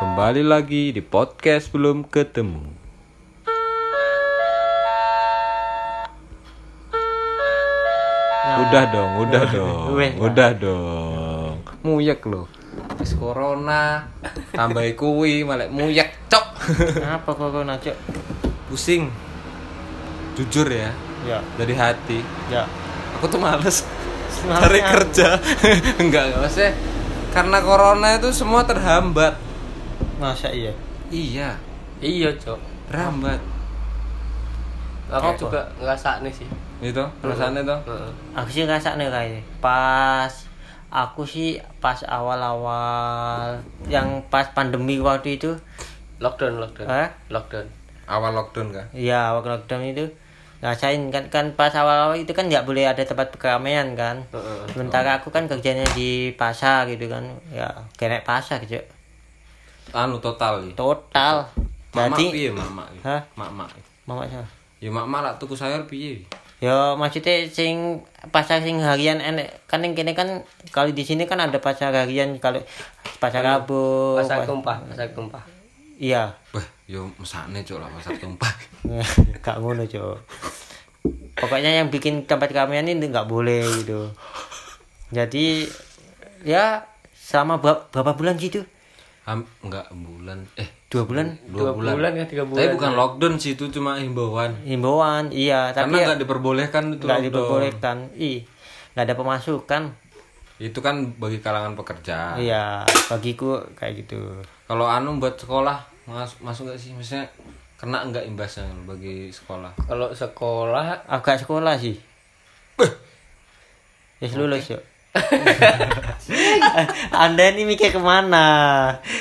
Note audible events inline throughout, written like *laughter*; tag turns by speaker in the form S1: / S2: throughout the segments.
S1: Kembali lagi di podcast belum ketemu.
S2: Ya.
S1: Udah dong, udah dong,
S2: Weh.
S1: udah dong. Muyek lo. Wis corona, tambah kuwi malah muyek cok.
S2: Kenapa kok kau nacok?
S1: Pusing. Jujur ya,
S2: Ya,
S1: dari hati.
S2: ya.
S1: Aku tuh males
S2: Sebenarnya
S1: cari
S2: aku-
S1: kerja. *laughs* enggak, enggak maksudnya karena corona itu semua terhambat.
S2: Masa iya?
S1: Iya,
S3: Iya, Cok.
S1: terhambat.
S3: Aku
S2: Apa?
S3: juga ngerasakne sih.
S1: Itu, perasaannya tuh.
S3: Heeh.
S2: Aku sih ngerasa nih kayaknya. Pas aku sih pas awal-awal yang pas pandemi waktu itu,
S3: Lockdown, lockdown.
S2: Hah?
S3: Lockdown.
S1: Awal lockdown kan?
S2: ya waktu lockdown itu ngasain kan kan pas awal-awal itu kan nggak boleh ada tempat keramaian kan.
S3: Heeh.
S2: Sementara aku kan kerjanya di pasar gitu kan, ya kena pasar gitu.
S1: anu total ya.
S2: Total.
S1: Mamak
S2: Jadi,
S1: piye mamak? ya?
S2: Hah?
S1: Mamak. ya?
S2: mama siapa?
S1: Ya mamak lak tuku sayur piye?
S2: Ya maksudnya sing pasar sing harian enek kan yang kene kan kalau di sini kan ada pasar harian kalau pasar Rabu.
S3: Pasar
S2: pas-
S3: kumpah, pasar kumpah.
S2: Iya. *laughs*
S1: Wah, yo mesakne cok ya lah pasar tumpah.
S2: Gak ngono, Cok. Pokoknya yang bikin tempat keramaian ini nggak boleh gitu. Jadi ya selama ber- berapa bulan gitu?
S1: Ham, enggak bulan eh
S2: Dua bulan
S1: dua,
S3: Dua
S1: bulan.
S3: bulan ya, tiga
S1: Tapi
S3: bulan.
S1: bukan lockdown sih itu cuma himbauan.
S2: himbauan, iya.
S3: ya,
S1: Karena
S2: Tapi
S1: enggak diperbolehkan itu
S2: nggak
S1: lockdown.
S2: diperbolehkan. Ih, nggak ada pemasukan.
S1: Itu kan bagi kalangan pekerja.
S2: Iya, bagiku kayak gitu.
S1: Kalau anu buat sekolah mas masuk enggak sih misalnya kena enggak imbasnya bagi sekolah?
S3: Kalau sekolah
S2: agak sekolah sih Wis lulus yuk *laughs* Anda ini mikir kemana?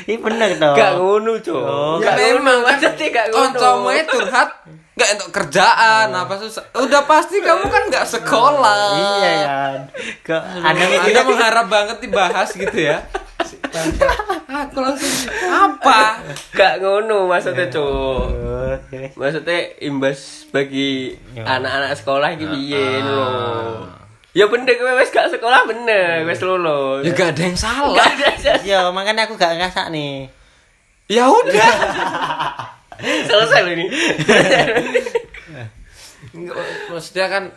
S2: Ini bener dong.
S3: gak ngono, Cok.
S2: Ya,
S3: Gak ngono, maksudnya gak
S1: Kancamu
S3: ngono.
S1: curhat enggak untuk kerjaan
S3: Iya.
S1: apa susah. Udah pasti kamu kan enggak sekolah.
S2: Iya kan. Kok Anda mikir
S1: Anda mengharap banget dibahas gitu ya. Ah, Aku langsung apa?
S3: Gak ngono maksudnya, Cok.
S2: Oh,
S3: Maksudnya imbas bagi anak-anak sekolah iki piye lho. Ya bener kowe wis gak sekolah bener, wis lulus.
S1: Ya gak ada yang salah.
S3: Gak ada.
S2: Iya, makanya aku gak ngerasa nih.
S1: Ya udah.
S3: Selesai loh ini.
S1: Maksudnya kan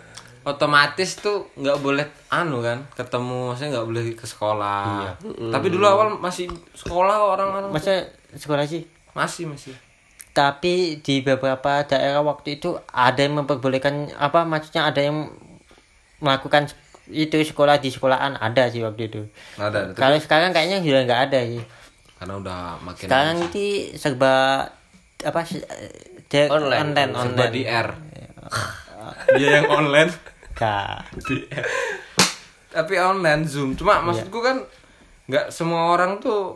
S1: otomatis tuh nggak boleh anu kan ketemu maksudnya nggak boleh ke sekolah tapi dulu awal masih sekolah orang-orang
S2: Masa sekolah sih?
S1: masih masih
S2: Tapi di beberapa daerah waktu itu ada yang memperbolehkan apa maksudnya ada yang melakukan itu sekolah di sekolahan ada sih waktu itu.
S1: ada Nah, tapi
S2: Kalau sekarang kayaknya sudah nggak ada sih.
S1: karena udah makin
S2: sekarang ini serba apa sih de-
S3: Online.
S2: online
S1: serba
S2: online
S1: di R dia yang online
S2: Gak.
S1: Iya. tapi online zoom cuma maksudku kan nggak semua orang tuh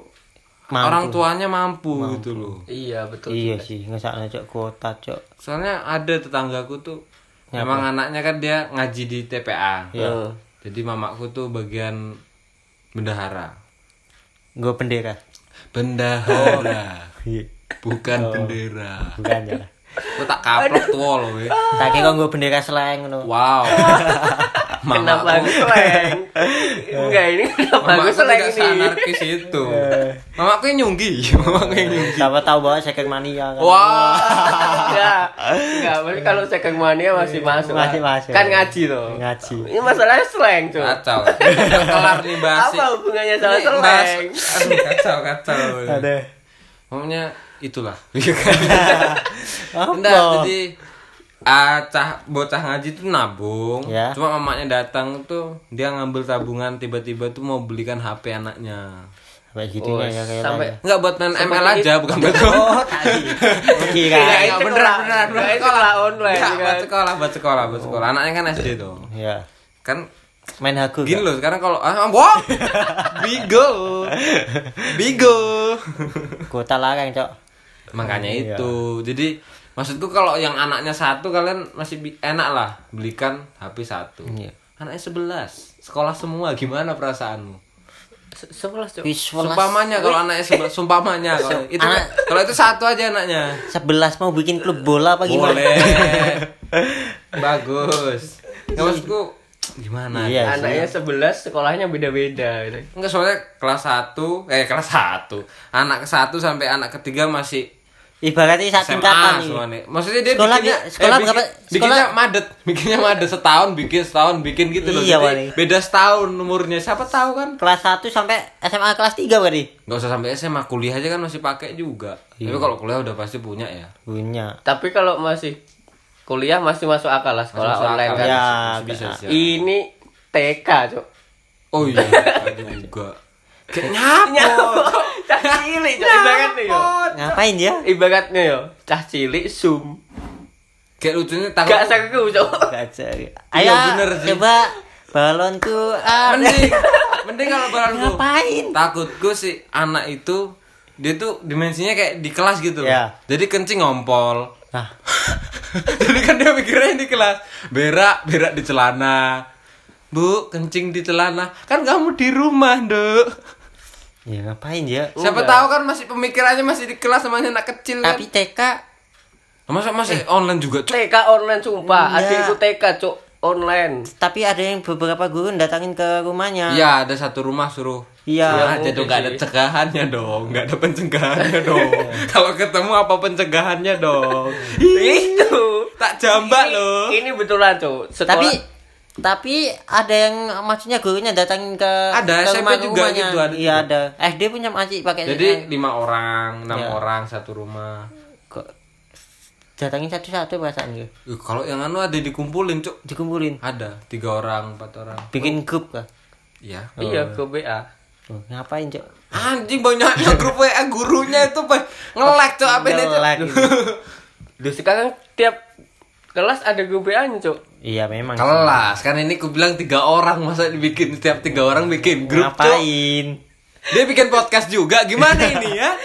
S2: Mampu.
S1: orang tuanya mampu, gitu loh
S3: Iya, betul.
S2: iya sih ngesakno cok kuota cok
S1: soalnya ada tetanggaku tuh memang anaknya kan dia ngaji di TPA
S3: Heeh.
S1: jadi mamaku tuh bagian bendahara
S2: gue bendera
S1: bendahara
S2: iya
S1: bukan bendera *laughs*
S2: bukan ya
S1: aku tak kaplok tua loh we.
S2: tak kira gue bendera slang ngono
S1: wow
S3: Kenapa
S1: mamaku
S3: aku seleng? Enggak ini kenapa aku
S1: mamaku
S3: seleng
S1: tidak
S3: ini?
S1: seanarkis itu mamaku yang nyunggi *laughs* mamaku yang nyunggi
S2: siapa tahu bahwa second mania kan
S1: wow
S3: Enggak. Enggak, maksudnya kalau second mania masih masuk.
S2: Iya,
S3: lah.
S2: Masih masuk. Iya.
S3: Kan ngaji tuh.
S2: Ngaji.
S3: Ini masalahnya seleng, cuy.
S1: kacau Udah kelar nih bahas
S3: Apa hubungannya sama
S1: Ini bahas-
S3: seleng?
S1: aduh kacau kacau
S2: ada
S1: Pokoknya itulah.
S2: *laughs* Apa?
S1: Enggak, jadi ah, cah- bocah ngaji tuh nabung.
S2: Ya.
S1: Cuma mamanya datang tuh dia ngambil tabungan tiba-tiba tuh mau belikan HP anaknya.
S2: sampai segitunya
S3: Oh,
S2: ya kayak
S3: sampai
S1: Enggak buat main ML
S3: Seperti
S1: aja, bukan buat
S3: *laughs*
S1: oh,
S2: kira
S1: *laughs* Iya, iya,
S3: Itu
S1: bener,
S3: lah.
S1: bener, bener.
S3: Nah, itu lah online
S1: buat
S3: kan. Oh.
S1: sekolah, buat sekolah, buat sekolah. Anaknya kan SD tuh.
S2: ya
S1: Kan
S2: main haku
S1: gini
S2: gak?
S1: loh sekarang kalau ah
S2: *laughs*
S1: wow. Bigo. Bigo.
S2: kuota larang cok
S1: Makanya
S2: Iya.
S1: itu. Jadi maksudku kalau yang anaknya satu kalian masih bi- enak lah belikan HP satu.
S2: Iya.
S1: Anaknya sebelas, sekolah semua gimana perasaanmu?
S3: Se- Sebelas, cuy.
S2: visual
S1: Sumpamanya kalau anaknya sebelas, sumpamanya kalau itu
S2: Anak-
S1: kalau itu satu aja anaknya.
S2: sebelas mau bikin
S1: *laughs*
S2: klub bola apa gimana
S1: Boleh. Bagus. Ya maksudku gimana? ya?
S2: Iya.
S3: Anaknya 11, sekolahnya beda-beda gitu.
S1: Enggak soalnya kelas 1, eh kelas 1. Anak ke 1 sampai anak ketiga masih
S2: Ibaratnya satu tingkatan
S1: SMA
S2: nih.
S1: soalnya. Maksudnya dia
S2: Sekolah
S1: bikinnya eh,
S2: bi- sekolah
S1: bikin-
S2: berapa-
S1: bikinnya
S2: sekolah-
S1: madet, *laughs* bikinnya madet setahun bikin setahun bikin gitu loh.
S2: Iya,
S1: Jadi
S2: Wali.
S1: beda setahun umurnya. Siapa tahu kan?
S2: Kelas 1 sampai SMA kelas 3 berarti.
S1: Enggak usah sampai SMA, kuliah aja kan masih pakai juga.
S2: Iya.
S1: Tapi kalau kuliah udah pasti punya ya.
S2: Punya.
S3: Tapi kalau masih kuliah masih masuk akal lah sekolah
S1: Masuk
S3: online
S1: akal.
S3: kan.
S2: Ya,
S1: bisa,
S2: kena.
S1: bisa.
S3: Ini TK,
S1: *laughs*
S3: Cuk.
S1: Oh
S2: *laughs*
S1: iya, ada juga. Kayak nyapot.
S3: Cah cilik, Cuk.
S2: kan-
S3: Ibaratnya yo.
S2: Ngapain dia?
S3: Ibaratnya yo, cah cilik zoom.
S1: Kayak lucunya tanggal.
S3: Gak saku, Cuk.
S2: Gak cari. ya. Ayo
S1: Iya, bener sih.
S2: coba balonku ah, *laughs*
S1: mending mending kalau barangku
S2: Ngapain?
S1: takutku si anak itu dia tuh dimensinya kayak di kelas gitu loh.
S2: Ya.
S1: jadi kencing ngompol
S2: Nah,
S1: *laughs* jadi kan dia mikirnya ini kelas berak berak di celana bu kencing di celana kan kamu di rumah dok
S2: ya ngapain dia?
S1: siapa tahu kan masih pemikirannya masih di kelas sama anak kecil kan
S2: iya.
S1: Nah,
S2: Tapi TK
S1: masa masih online juga Cuk?
S3: TK online sumpah,
S2: Iya.
S3: adikku TK, Cuk. Online.
S2: tapi ada yang beberapa guru datangin ke rumahnya.
S1: Iya ada satu rumah suruh
S2: Iya.
S1: Suruh aja dong nggak ada cegahannya dong nggak ada
S2: *laughs*
S1: pencegahannya dong Kalau ketemu apa pencegahannya dong
S3: Itu.
S1: Tak jambak loh
S3: Ini betulan, Cuk. Sekolah
S2: Tapi tapi ada yang maksudnya gurunya datangin ke
S1: Ada,
S2: ke
S1: SMP juga
S2: rumahnya.
S1: gitu, ada
S2: Iya
S1: juga.
S2: ada. SD punya masih pakai
S1: Jadi lima orang, enam
S2: Iya.
S1: orang satu rumah
S2: Kok datangin satu-satu perasaan gitu.
S1: Ih, Kalau yang anu ada dikumpulin cuk
S2: Dikumpulin,
S1: Ada tiga orang, empat orang
S2: bikin grup kah?
S1: Iya
S3: iya ke BA.
S2: Oh, ngapain, Cok?
S1: Anjing banyaknya grup WA gurunya itu Pak. Nge-lag cuk apa ini cuk *laughs*
S2: Nge-lag.
S3: Duh, sekarang tiap kelas ada grup BA-nya,
S2: *laughs*
S3: Cuk.
S2: Iya, memang.
S1: Kelas kan ini ku bilang tiga orang masa dibikin setiap tiga orang bikin grup cuk
S2: ngapain?
S1: Dia bikin podcast juga gimana ini ya?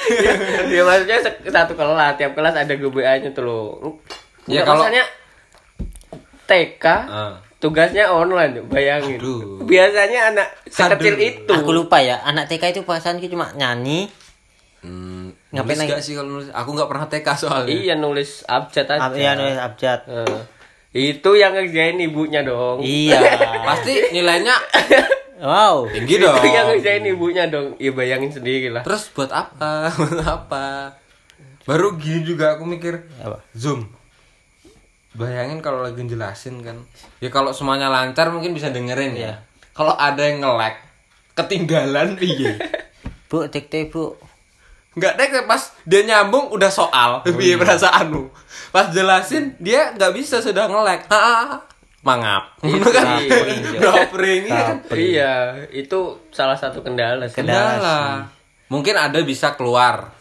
S3: ya maksudnya se- satu kelas tiap kelas ada GBA-nya tuh lo
S1: Ya,
S3: ya
S1: kalau-
S3: kalau misalnya TK
S1: Ah.
S3: tugasnya online yuk, bayangin
S1: Aduh.
S3: biasanya anak sekecil
S1: Aduh.
S3: itu
S2: Aku lupa ya, anak TK itu perasaanku cuma nyanyi,
S1: Hmm, nulis
S2: Ngapain lagi?
S1: gak sih kalau nulis? Aku gak pernah TK soalnya.
S3: iya nulis abjad aja
S2: ab, ya nulis abjad.
S3: Eh, itu yang ngerjain ibunya dong
S1: *laughs*
S2: Iya.
S3: *laughs*
S1: Pasti nilainya
S2: Wow.
S1: tinggi
S3: itu
S1: dong.
S2: iya,
S3: yang ngerjain ibunya dong ya bayangin sendiri lah
S1: Terus buat apa? *laughs* buat apa? Baru gini juga aku mikir
S2: Apa?
S1: Zoom. Bayangin kalau lagi jelasin kan. Ya kalau semuanya lancar mungkin bisa dengerin
S2: Iya.
S1: ya. Kalau ada yang nge-lag, ketinggalan iya. piye?
S2: Bu, dikte, Bu.
S1: Enggak deh kayak pas dia nyambung udah soal piye perasaanmu. Pas jelasin dia nggak bisa sudah nge-lag. Ha, ha, ha. Mangap. Itu kan.
S3: Capring,
S1: Dropring iya kan.
S3: iya itu salah satu kendala sih.
S1: Udah lah. Mungkin ada bisa keluar.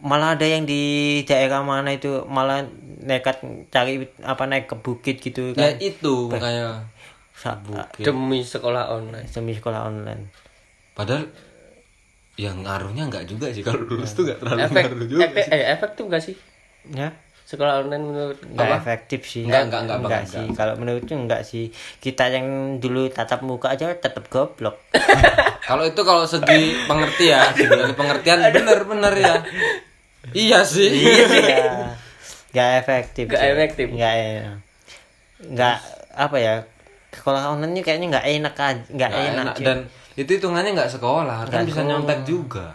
S2: Malah ada yang di daerah mana itu malah nekat cari apa naik ke bukit gitu
S1: Ya Ah.
S2: kan.
S1: itu makanya.
S2: Sa-
S3: demi sekolah online
S2: Demi sekolah online.
S1: Padahal yang ngaruhnya nggak juga sih kalau lulus tuh nggak terlalu
S3: efek
S1: ngaruh juga.
S3: efek- eh, efektif gak sih
S2: Ya.
S3: sekolah online menurut
S2: Enggak efektif sih.
S1: Nggak, nggak, nggak,
S2: Nggak
S1: nggak.
S2: sih. Kalau menurutku enggak sih. Kita yang dulu tatap muka aja tetap goblok.
S1: Kalau itu kalau segi pengertian, segi pengertian bener-bener ya. Iya sih.
S2: *laughs* Iya. Enggak efektif.
S3: Nggak
S2: Cok.
S3: efektif.
S2: Nggak enak. Nggak, apa ya? Sekolah online ini kayaknya enggak enak aja, enggak
S1: Nggak
S2: enak.
S1: enak.
S2: Cok.
S1: Dan itu hitungannya nggak sekolah, kan
S2: Nggak
S1: bisa
S2: sekolah.
S1: nyontek juga.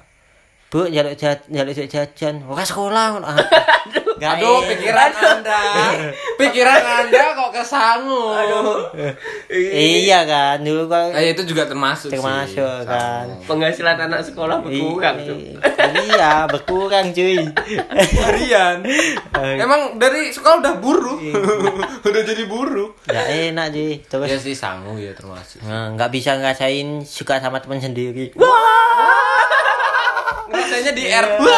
S2: Bu, jaluk jajan, jaluk jajan. Ora
S1: *laughs*
S2: sekolah. Ah. Nggak
S1: Aduh,
S2: enak.
S1: pikiran *laughs* Anda. Pikiran Anda kok kesangu.
S2: Iya kan, dulu kalau
S1: Eh, itu juga termasuk, sih.
S2: termasuk
S1: *laughs*
S2: kan.
S3: penghasilan anak sekolah berkurang tuh
S2: Iya, berkurang
S1: *laughs*
S2: cuy.
S1: Harian. Emang dari sekolah udah buruk. *laughs* udah jadi buruk.
S2: Enggak enak cuy. Terus
S1: Iya sih sangu ya termasuk.
S2: Nah, nggak bisa ngerasain suka sama teman sendiri.
S1: Rasanya di air. Wah.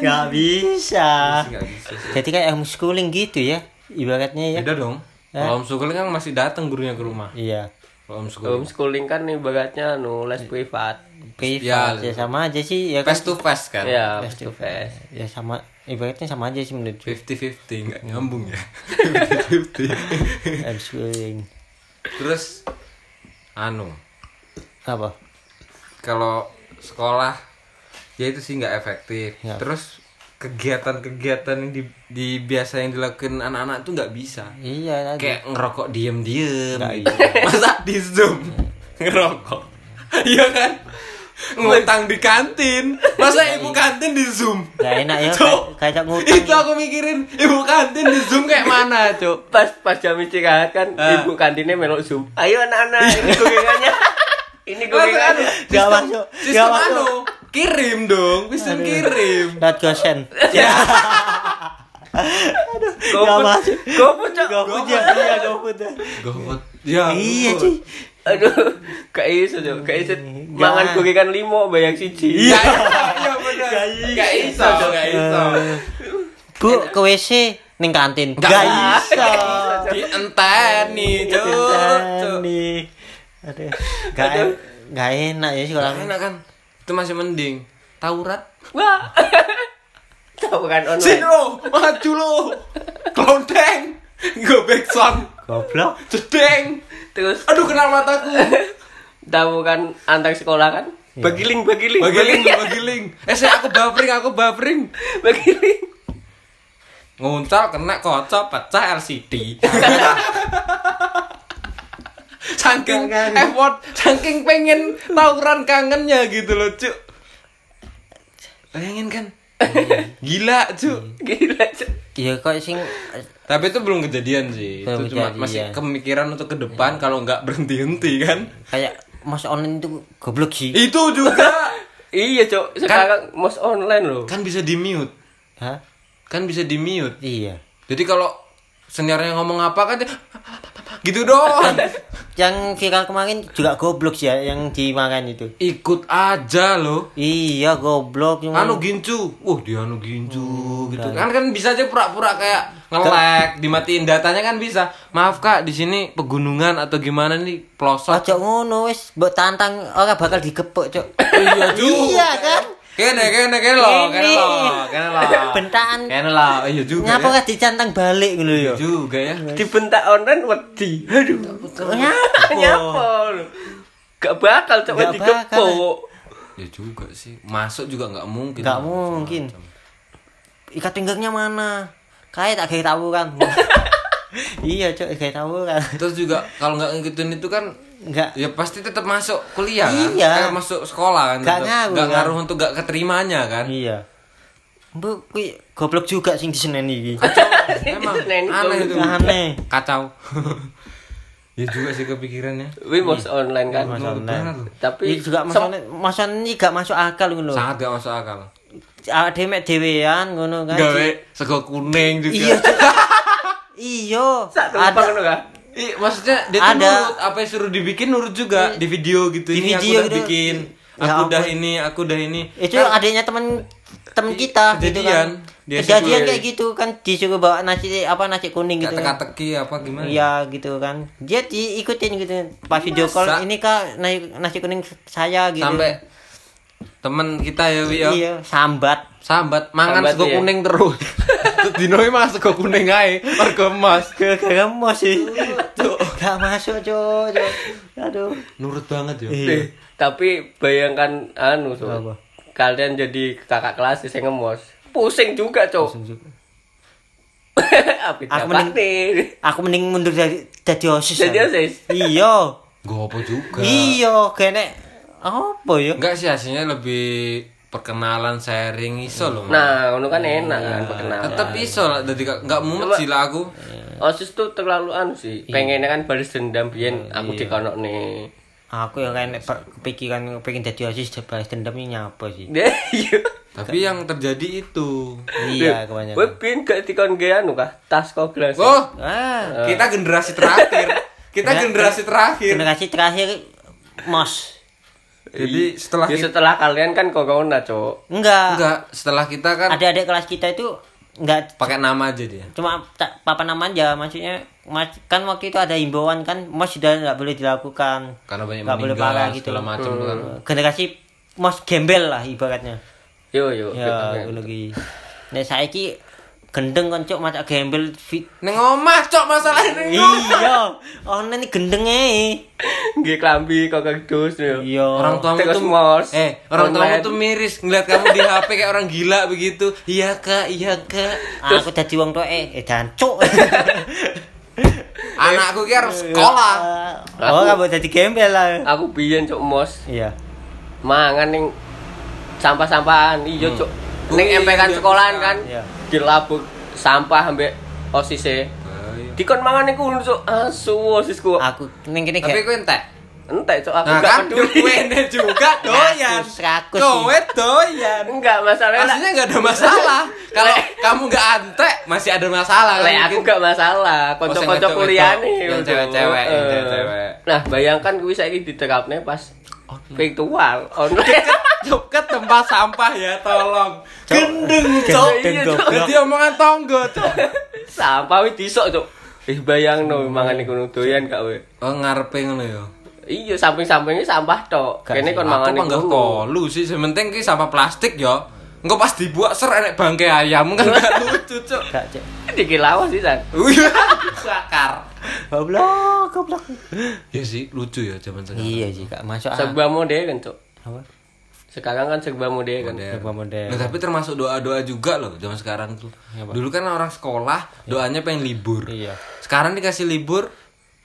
S1: Ya.
S2: Nggak bisa.
S1: iya. Nggak bisa sih.
S2: Jadi kayak homeschooling gitu ya, ibaratnya ya.
S1: Beda dong. Kalau homeschooling kan masih datang gurunya ke rumah.
S2: Iya.
S1: Kalau homeschooling.
S3: homeschooling kan ibaratnya anu les privat
S2: Privat ya sama aja sih ya kan.
S1: Face to face kan.
S3: ya face to face
S2: Ya sama ibaratnya sama aja sih
S1: *laughs*
S2: menurut gue.
S1: 50-50 nggak nyambung *laughs* ya. 50-50.
S2: homeschooling.
S1: Terus anu,
S2: Apa?
S1: kalau sekolah ya itu sih nggak efektif.
S2: Ya.
S1: Terus kegiatan-kegiatan yang di, di biasa yang dilakukan anak-anak tuh nggak bisa.
S2: Iya tadi.
S1: Kayak ngerokok diem-diem. *laughs* gitu. Masa di Zoom ngerokok? *laughs* Iya kan? Ngutang di kantin. Masa ibu kantin di Zoom?
S2: Gak enak ya
S1: Cuk.
S2: kayak kayak ngutang.
S1: *laughs* Itu aku mikirin ibu kantin di Zoom
S2: *laughs*
S1: kayak mana, Cuk?
S3: pas pas jam istirahat kan
S1: Ah.
S3: ibu kantinnya melok zoom ayo anak-anak
S1: *laughs*
S3: ini gorengannya ini gorengannya
S2: Gak
S1: Sistem-
S2: masuk, gak
S1: Sistem
S2: masuk.
S1: anu, kirim dong, sistem kirim.
S2: Dat gosen. *laughs*
S1: Ya,
S2: Gak masuk.
S3: GoFood, Cok.
S2: Gofood ya, iya gofood. ya.
S1: GoFood. Ya.
S2: Iya
S1: GoFood.
S2: cuy.
S3: *laughs* aduh gak iso Cok. gak iso mangan gorengan limo bayang siji
S1: Iya, iya benar. Gak iso, gak iso.
S2: Bu ke WC ning kantin.
S1: Gak
S2: Gak
S1: bisa.
S2: bisa.
S1: Dienteni, Cuk. Cuk.
S2: Nih. Aduh. Gak en- gak enak ya sih kalau
S1: Gak enak kan? Itu masih mending. Taurat.
S3: *laughs* wah *laughs* tahu kan online
S1: Sinro, maju lo. Klonteng. Gobek son.
S2: goblok.
S1: Cedeng.
S3: terus *laughs*
S1: Aduh kenal mataku.
S3: tahu kan antar sekolah kan bagi link bagi link
S1: Bagi link,
S3: *laughs*
S1: bagi link. Eh, saya aku bapering, aku bapering.
S3: bagi link
S1: Nguncal kena kocok pecah LCD. *laughs* saking effort, saking pengen tawuran kangennya gitu loh, Cuk. Pengen kan? *laughs* Gila, Cuk.
S3: gila Cok.
S2: Iya kok sing
S1: Tapi itu belum kejadian Iya. sih.
S2: Belum
S1: itu cuma
S2: kejadian.
S1: masih kemikiran untuk ke depan kalau nggak berhenti-henti kan.
S2: kayak mas online itu goblok sih.
S1: Itu juga
S3: iya cok sekarang mos online loh
S1: *laughs* kan bisa di-mute.
S2: Hah?
S1: Kan bisa di-mute.
S2: Iya.
S1: Jadi kalau seniornya ngomong apa kan dia gitu doang.
S2: Yang viral kemarin juga goblok sih ya yang dimakan itu.
S1: *laughs* Ikut aja loh.
S2: Iya goblok cuma
S1: Anu gincu, wah dia anu gincu gitu kan kan bisa aja pura-pura kayak ngelek, dimatiin datanya kan bisa. Maaf kak, di sini pegunungan atau gimana nih pelosok.
S2: Ojo ngono wis mbok tantang ora bakal digepuk, Cuk.
S1: iya juga.
S2: *laughs* iya kan?
S1: Kene kene kene lo, kene
S2: Ini.
S1: lo, kene lo.
S2: Bentaan.
S1: Kene lo, iya juga.
S2: Ngapa
S1: ya.
S2: gak dicantang balik ngono
S1: Iya
S2: ya?
S1: juga ya.
S3: dibentak online wedi aduh
S1: Iya,
S2: Nyapa?
S3: nyapa lu gak bakal coba
S2: Gak
S3: digepuk
S1: Ya juga sih. Masuk juga nggak mungkin.
S2: Gak mungkin. Ikat pinggangnya mana? Kayak tak kayak tahu
S1: *laughs*
S2: kan. iya, Cuk, kayak tahu kan.
S1: Terus juga kalau nggak ngikutin itu kan
S2: Enggak.
S1: ya pasti tetap masuk kuliah kan
S2: Iya.
S1: Eh, masuk sekolah kan
S2: Gak
S1: tetap.
S2: ngaruh,
S1: Gak
S2: kan?
S1: ngaruh untuk gak keterimanya kan
S2: Iya. Mbok kuwi goblok juga sing diseneni iki.
S1: Eh, *laughs* Emang
S3: Nen,
S1: aneh
S3: goblok.
S1: itu.
S2: Aneh.
S1: Kacau. *laughs* ya juga sih kepikirannya.
S3: Wih mos online kan
S2: Mas
S1: Menurut
S2: online.
S1: bener.
S3: tapi
S2: Iya juga masalah masalah ini gak masuk akal ngono.
S1: Sangat gak masuk akal.
S2: Awak dhewe mek dhewean ngono kan.
S1: Gawe sego kuning juga.
S2: Iya, Cuk. Iya.
S3: sak
S2: Ada
S3: tumpang ngono kan
S1: Ih, maksudnya dia tuh
S2: Ada.
S1: nurut apa yang suruh dibikin nurut juga di video gitu.
S2: Di
S1: ini
S2: video
S1: aku udah
S2: gitu.
S1: bikin.
S2: Ya
S1: Aku udah
S2: ampun. Iya, gitu
S1: ini, aku udah ini.
S2: itu
S1: Kan-
S2: Eh, adiknya temen temen kita gitu
S1: kejadian.
S2: kan
S1: Dia
S2: kejadian
S1: suruh-
S2: kayak gitu kan disuruh bawa nasi apa nasi kuning gitu kan
S1: teka-teki apa gimana?
S2: iya gitu kan dia diikutin gitu pas video call
S1: Masa?
S2: ini kak nasi, nasi kuning saya gitu
S1: Sampai temen kita ya Wi ya.
S2: iya sambat
S1: Sambat mangan
S3: Sambat
S1: sego
S3: ya.
S1: kuning terus. *laughs* Dino mangan sego kuning ae, warga emas.
S2: gak mau sih gak masuk cok cok. aduh
S1: Nurut banget ya.
S2: Iya.
S3: Eh, tapi bayangkan anu so.
S2: Apa?
S3: kalian jadi kakak kelas saya ngemos pusing juga cok *laughs* apa
S2: Aku
S3: dapat
S2: mending-
S3: nih
S2: aku mending mundur dari dari osis
S3: Jadi
S2: aku.
S3: osis?
S2: iya
S1: Gua apa juga.
S2: iya kene apa ya
S1: Enggak sih hasilnya lebih perkenalan sharing iso loh. Mas.
S3: nah ngono kan enak
S2: Iya.
S3: kan
S2: Nah,
S3: perkenalan
S1: tetep iso lah jadi gak- nggak mumet
S3: Coba-
S1: sih lah aku.
S3: osis tuh terlalu anu sih
S2: Iya.
S3: pengennya kan balas dendam biyen aku dikonok nih
S2: aku ya kene per- kepikiran pengen dari osis balas dendamnya nyapa sih
S3: Deh, *laughs* iya.
S1: Tapi yang terjadi itu.
S2: *laughs* Iya
S3: Gue
S2: kebanyakan.
S3: pin gak dikon gaya anu kah? Tas kok gelas.
S1: Oh,
S2: Ah,
S1: kita generasi terakhir. Kita
S2: Gener-
S1: generasi terakhir.
S2: generasi terakhir mos.
S1: Jadi setelah
S3: ya
S1: kita,
S3: setelah kalian kan corona, Cok.
S2: Enggak.
S1: enggak, setelah kita kan
S2: Ada adik kelas kita itu enggak
S1: pakai nama aja dia.
S2: cuma ta- papan nama aja maksudnya mas- kan waktu itu ada himbauan kan mos sudah enggak boleh dilakukan.
S1: Karena banyak
S2: Nggak boleh
S1: meninggal
S2: parah
S1: gitu.
S2: gitu.
S1: segala macam tuh kan.
S2: Generasi mos gembel lah ibaratnya.
S3: Yo yo.
S2: Ya, gue lagi. Nek saiki gendeng kan cok macak gembel fit
S1: Neng omah cok masalah ini.
S2: iya oh ini gendeng eh
S3: Nggih klambi kok kedus yo.
S2: iya
S1: Orang tuamu
S3: Tegas
S1: tuh
S3: mos.
S1: Eh, orang tuamu
S3: Online.
S1: tuh miris ngeliat kamu di HP kayak orang gila begitu. Iya Kak, iya Kak.
S2: Ah, aku jadi wong tua eh eh *laughs* dancuk Eh.
S1: Anakku ki harus sekolah.
S2: oh kamu jadi gembel lah
S3: Aku biyen cuk mos
S2: iya
S3: mangan ning sampah-sampahan iya cuk. Ning
S1: Wih,
S3: empekan
S1: Hmm. iya,
S3: sekolahan kan
S2: iya.
S3: dilabuk sampah ambek osise.
S1: Nah, iya.
S3: Dikon mangan ning kuwi cuk. Asu osisku.
S2: aku ning kene
S1: Tapi
S2: gak
S1: ku entek.
S3: Entek cuk aku
S1: Ah. Nah,
S3: gak
S1: kan
S3: peduli.
S1: duwene juga doyan.
S2: Rakus, rakus.
S1: Kowe doyan.
S3: *laughs* Enggak masalah.
S1: Aslinya nggak ada masalah. Kalau kamu nggak antek, masih ada masalah. kan
S3: Lek aku
S1: mungkin.
S3: gak masalah, kanca-kanca
S1: Oh, sing wedok-wedok,
S3: kuliah nih.
S1: yang cewek-cewek, yang cewek-cewek.
S3: Eh. Nah, bayangkan kuwi saiki diterapne pas
S1: *laughs*
S3: virtual online.
S1: Cuk, ke tempat sampah ya, tolong. Gendeng, cok.
S2: gendeng
S3: Iya, Cok.
S2: goblok
S1: Jadi omongan tonggo, cok.
S3: Sampah wis disok, Cuk. Eh bayangno mangan iku doyan gak we.
S1: Oh, ngarepe ngono ya.
S3: Iya, samping-sampingnya sampah tok.
S2: Gak sih,
S3: Kene kon
S1: Aku
S3: Kan mangan
S1: mah nggak
S3: iku.
S1: kolu sih, sementing ki sampah plastik ya. Engko pas dibuat ser enek bangke ayam kan gak lucu, cok.
S2: gak cok
S3: Dikit lawas Kan sih, San.
S1: Wih, Bakar.
S2: goblok goblok
S1: Ya sih, lucu ya zaman sekarang.
S2: iya sih gak masuk akal
S3: Serba modern, kan, Cuk.
S2: apa
S3: Sekarang kan serba modern.
S1: Modern.
S2: serba model
S1: Nah, tapi termasuk doa-doa juga loh zaman sekarang tuh. Dulu kan orang sekolah doanya pengen libur.
S2: Iya.
S1: Sekarang dikasih libur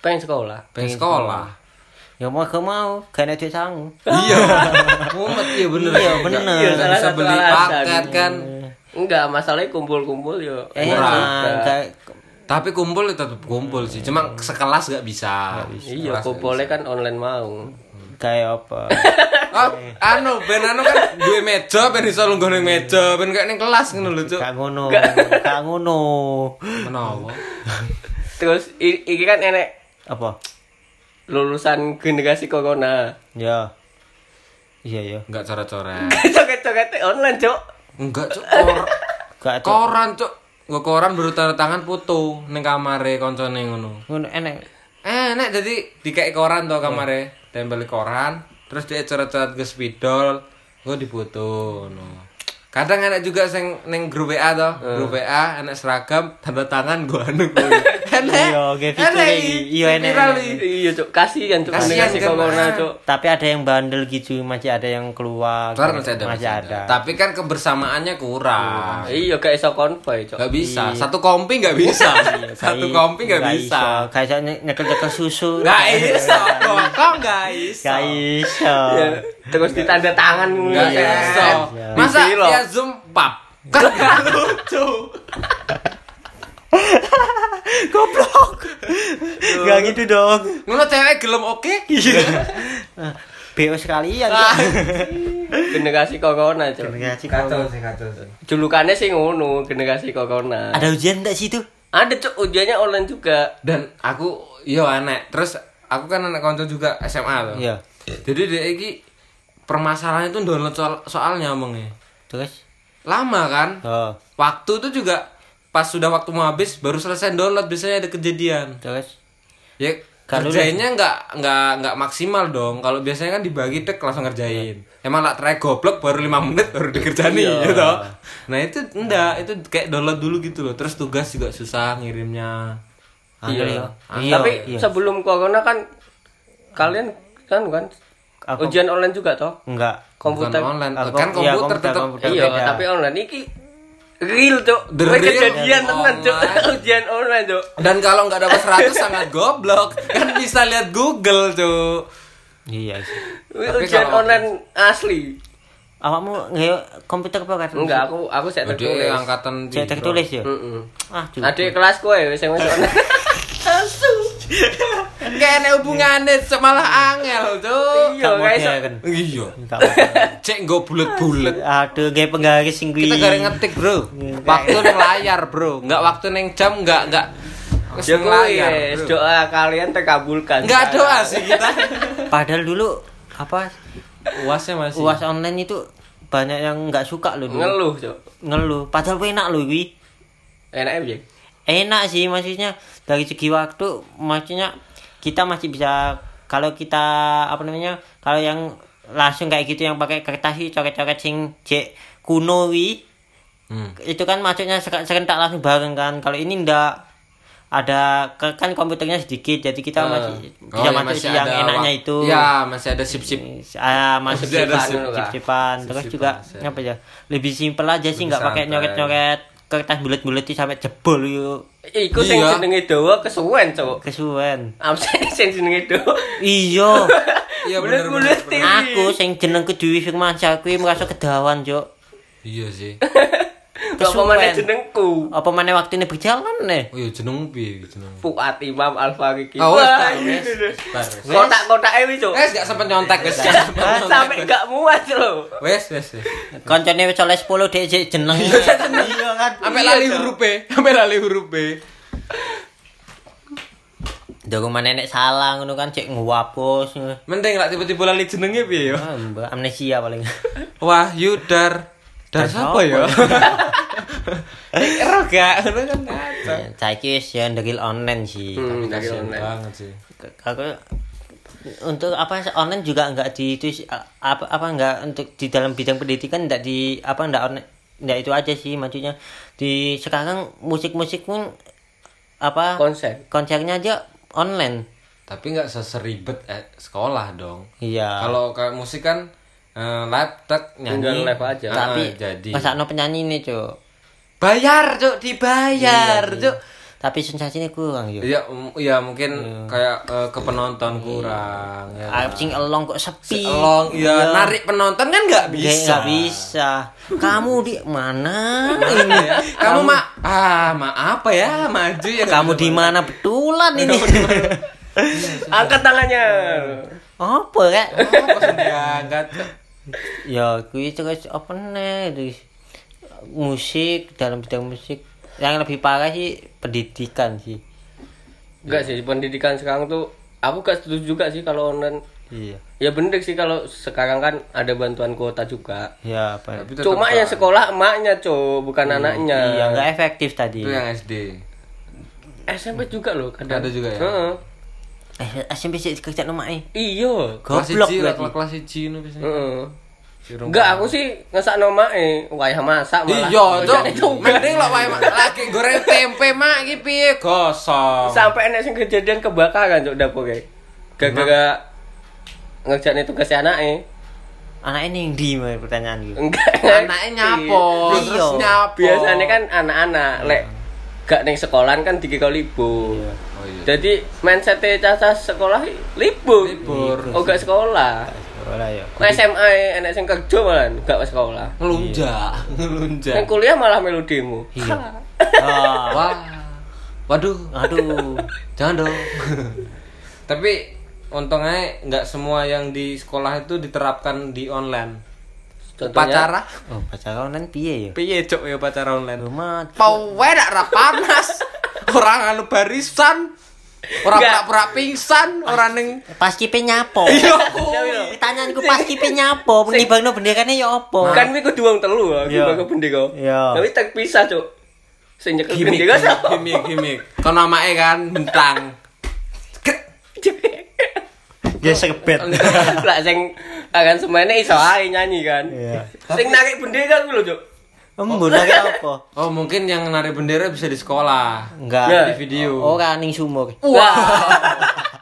S3: Pengen sekolah.
S1: pengen sekolah.
S2: ya mau gak mau gak ada duit sangu
S1: iya. Mumet iya bener.
S2: Iya,
S1: Nggak-
S2: bener.
S1: nggak
S3: Iya, salah
S1: bisa
S3: satu
S1: beli
S3: alasan.
S1: paket kan.
S3: Enggak, masalahnya kumpul-kumpul yo. Iya.
S2: eh
S1: Murah.
S2: nah, gak-
S1: Tapi kumpul ya tetap kumpul sih. Cuma sekelas nggak bisa.
S3: Iya,
S1: Sekelas nggak
S3: kumpulnya kan online mau.
S2: kayak
S1: *laughs*
S2: apa
S1: bisa. Oh, anu, ben anu kan duwe meja, ben iso lungguh ning meja, ben kayak ning kelas ngono lho, Cuk.
S2: gak ngono gak ngono
S1: Menawa.
S3: Terus i- iki kan enek
S2: apa
S3: lulusan generasi corona. *laughs*
S2: ya iya ya
S1: Enggak coret-coret.
S3: Coket-coket online, Cuk.
S1: Enggak, Cuk. Kor-
S2: gak ada
S1: koran cok gue koran baru tanda tangan foto neng kamare koncone ngono Eh,
S2: ngono enek
S1: enak jadi dikei koran tuh kamare tempel koran terus dia coret-coret ke spidol gue dipoto no. kadang enak juga sing neng grup WA toh grup WA enak seragam tanda tangan gue anu enak
S2: Iya, nggih,
S1: eh.
S2: fiturnya iki. Iya, enak,
S1: viral
S2: enak,
S1: iki.
S3: Iya, Cuk. Kasihan Cuk
S1: Kasihan,
S3: generasi
S1: kan,
S3: corona,
S1: Mas.
S3: Cuk.
S2: tapi ada yang bandel gitu masih ada yang keluar
S1: Kelar masih ada,
S2: masih ada
S1: tapi kan kebersamaannya kurang
S3: Iya, gak iso konvoy, Cuk.
S1: Gak bisa, satu kompi gak bisa Satu kompi gak bisa
S2: gak Iya, iso nye- nyekel-nyekel susu
S1: Gak iso, kok gak iso
S2: gak
S1: *laughs*
S2: iso
S3: Ya, Terus ditanda tangan
S1: Gak
S3: ya.
S1: Iya. iso
S2: Iya.
S1: Masa
S3: Di vlog.
S1: dia zoom
S2: *laughs*
S1: pap Kan gak lucu
S2: goblok gak gitu dong
S1: Ngono cewek gelem oke
S2: Ah, beo sekalian
S1: Ah.
S3: Generasi corona, Cuk.
S2: Generasi corona.
S1: sih, kacau sih
S3: Julukannya sih ngono, generasi corona.
S2: ada ujian enggak situ
S3: Ada, Cuk, ujiannya online juga.
S1: Dan aku, yo aneh Terus aku kan anak konco juga SMA loh
S2: Iya.
S1: Jadi dia ini Permasalahannya itu download soal- soalnya omongnya
S2: terus
S1: Lama kan
S2: oh
S1: Waktu itu juga Pas sudah waktu mau habis Baru selesai download Biasanya ada kejadian
S2: terus
S1: Ya
S2: Kalau
S1: kerjainnya nggak nggak nggak maksimal dong. Kalau biasanya kan dibagi tek langsung ngerjain. Emang lah try goblok baru 5 menit baru dikerjani
S2: Iya.
S1: gitu. Nah itu enggak, itu kayak download dulu gitu loh. Terus tugas juga susah ngirimnya.
S2: Angel ya. iya
S3: Tapi
S2: iya.
S3: sebelum corona kan kalian kan kan
S2: Aku-
S3: ujian online juga toh?
S2: enggak
S1: Komputer
S3: Komputer.
S1: online,
S2: Ah,
S1: kan
S2: kom-
S1: komputer
S2: iya, komputer,
S1: tetap
S2: komputer.
S3: Iya,
S2: Beda.
S3: tapi online iki real, Cuk.
S1: The
S3: Mereka
S1: real
S3: jadian
S2: Oh,
S3: tenan, Cuk.
S1: online.
S3: *laughs* Ujian online, Cuk.
S1: Dan kalau nggak dapat 100 sangat goblok. Kan bisa lihat Google tuh.
S2: iya sih
S1: Tapi
S3: Ujian
S1: kalau-
S3: online asli.
S2: awakmu ngeyo komputer apa kan
S3: Enggak, aku Hmm. aku saya
S1: Jadi
S3: tertulis.
S1: angkatan gitu.
S2: cek tertulis ya
S3: Heeh.
S2: ah juga
S3: Adik kelas kowe wis
S2: *laughs*
S3: sing masuk online. Langsung.
S1: Kayak ada hubungannya malah angel tuh.
S3: Iya,
S2: Gak
S3: guys.
S2: modern.
S1: Iya.
S2: Gak modern.
S1: Cek nggak bulet-bulet.
S2: aduh gaya penggaris sing kuwi.
S1: kita gara ngetik bro waktu neng layar bro nggak waktu neng jam nggak nggak
S3: Ya
S1: neng
S3: wis
S1: bro.
S3: doa kalian terkabulkan.
S1: nggak doa sih kita
S2: padahal dulu apa
S1: uasnya masih Oh,
S2: uas online itu banyak yang nggak suka loh dulu.
S3: *laughs* Ngeluh, Cuk.
S2: ngeluh padahal enak loh wi
S3: Enak piye?
S2: enak sih maksudnya dari segi waktu maksudnya kita masih bisa kalau kita apa namanya kalau yang langsung kayak gitu yang pakai kertas sih coret-coret sing jek kuno wi
S1: Hmm.
S2: itu kan masuknya sek- serentak langsung bareng kan kalau ini ndak ada ke- kan komputernya sedikit jadi kita Iya, masih
S1: Oh,
S2: bisa
S1: ya,
S2: masuk yang
S1: ada
S2: enaknya
S1: wak-
S2: itu
S1: Ya, masih ada sip-sip.
S2: Ah, masuk
S1: Masih ada
S2: cipan,
S1: sip-
S2: cip-cipan. terus juga apa ya lebih simpel aja sih nggak pakai
S1: santai.
S2: nyoret-nyoret kertas bulat-bulat sampai jebol yuk
S3: Iku sing
S1: Iya.
S3: jenenge dawa kesuwen, Cuk.
S2: kesuwen
S3: Absen *laughs* sing jenenge dawa.
S2: *laughs* iyo
S1: Iya, bener,
S3: Bulet-bulet
S1: bener,
S3: TV.
S2: aku sing jenengku Dwi Firmansyah kuwi merasa kedawan cuk
S1: Iya *laughs* sih.
S3: Gak apa mana
S2: Kesuwen.
S3: jenengku.
S2: apa mana waktunya berjalan nih
S1: Oh iya jeneng piye jeneng.
S3: Fuad Imam Al Fariki.
S1: Ah, wes,
S3: Wah,
S1: tak,
S3: gitu deh.
S1: Bar.
S3: Kotak-kotak e Cuk.
S1: Wes gak sempet nyontek wes. gak sempet nyontek.
S3: Sampai gak muat lho.
S1: Wes wes. wes.
S2: Iya, Koncone wis oleh 10 dhek sik jeneng. Iya kan.
S1: Sampai lali huruf B, sampai lali huruf E. B.
S2: Dorong mana nek salah ngono kan cek nguwapus. *laughs* ngono.
S1: Mending lah tiba-tiba lali jenenge piye yo.
S2: Ah, mbak, amnesia paling.
S1: Wah, Yudar. Dar siapa ya? Ero gak ngono kan kacau.
S2: Saiki wis ya ndegil online sih.
S3: Hmm, dari
S1: *laughs*
S3: online.
S1: banget sih.
S2: Aku untuk apa online juga enggak di itu sih, a- apa apa enggak untuk di dalam bidang pendidikan enggak di apa enggak online enggak itu aja sih maksudnya di sekarang musik-musik pun apa
S3: Konser.
S2: konsernya aja online.
S1: Tapi nggak seseribet eh, sekolah dong.
S2: Iya.
S1: Kalau kayak musik kan eh, live tek nyanyi.
S3: Tinggal live aja.
S1: Ah,
S2: tapi
S1: jadi
S2: masakno penyanyi nih, Cuk.
S1: bayar, Cuk, dibayar, Cuk.
S2: tapi sensasinya kurang yo
S1: Ya, Iya, m- ya mungkin kayak eh, ke penonton kurang ya.
S2: Ah, sing elong kok sepi
S1: Elong, ya narik penonton kan nggak
S2: Ya, Iya. nggak
S1: bisa.
S2: bisa kamu di
S1: *laughs*
S2: mana
S1: Ini ya. Kamu mak ah mak apa ya maju ya
S2: kamu di mana betulan
S1: Iya,
S2: ini
S3: Angkat tangannya.
S2: apa rek
S1: Apa sih diangkat? Cuk?
S2: ya kuwi terus apa nih terus musik dalam bidang musik yang lebih parah sih pendidikan sih
S3: Enggak sih, pendidikan sekarang tuh aku gak setuju juga sih kalau online.
S2: iya
S3: Ya bener sih kalau sekarang kan ada bantuan kuota juga.
S2: ya apa
S1: Tapi tetep
S3: Cuma yang sekolah emaknya, Cuk, bukan
S1: Hmm,
S3: anaknya.
S2: iya nggak efektif tadi
S1: itu yang SD.
S3: SMP juga loh kadang.
S1: Ada juga ya?
S3: Heeh.
S2: eh SMP sih kerja nomor eh
S3: Iya.
S1: Kelas
S2: Goblok
S1: siji,
S2: berarti.
S1: kelas siji nu biasanya.
S3: Heeh.
S1: Si Rung-
S3: Enggak, aku sih ngesak noma eh wayah masak malah.
S1: Iya, Cuk.
S3: Kerjanya juga.
S1: Mending lah wae Mak. lagi goreng tempe mak iki piye gosong.
S3: Sampai enek sing kejadian kebakaran cuk dapur kayak. Gara-gara ngerjain tugas anak eh.
S2: anak ini yang di Mai, pertanyaan gitu
S3: Enggak.
S1: Anaknya nyapo,
S2: Iya.
S1: terus nyapo.
S3: Biasanya kan anak-anak lek gak neng sekolahan kan dikira libur.
S1: Oh iya.
S3: Jadi mindsetnya caca sekolah libur.
S1: Libur.
S3: Oh gak sekolah.
S2: Ora ya.
S3: Nah, SMA enek sing kerja malah gak sekolah.
S1: ngelunjak, Iya. ngelunjak.
S2: Iya.
S3: Yang kuliah malah melu demo.
S2: Ah,
S1: Wah. Waduh.
S2: aduh.
S1: Jangan dong. *laughs* Tapi untungnya nggak semua yang di sekolah itu diterapkan di online.
S3: Contohnya
S1: Pacara?
S2: Oh, pacar online piye ya?
S1: Piye cok ya pacara online?
S2: Rumah
S1: Pawe dak ra panas. Ora anu barisan. Ora
S3: Nggak.
S1: pura-pura pingsan, ora ning
S2: pas kipe nyapo. *laughs*
S1: kuwi.
S2: Pertanyaanku pas kipe nyapo, ngibangno benderane ya opo?
S3: kan kuwi kudu wong telu aku
S2: Iya.
S3: bakal bendeka.
S2: Iya.
S3: Tapi tak pisah, Cuk. Sing nyekel
S1: gimik,
S3: bendeka
S1: gimik,
S3: sapa?
S1: gimik, gimik. Kau namanya kan bentang.
S3: *laughs*
S2: Ya sebet.
S3: Lah sing akan semene iso ae nyanyi kan.
S2: Iya.
S3: Sing narik bendeka kuwi lho, Cuk.
S2: Embun lagi opo?
S1: Oh mungkin yang narik bendera bisa di sekolah.
S2: Enggak. Oh.
S1: Di video.
S2: Ora ning sumur.
S1: Wah.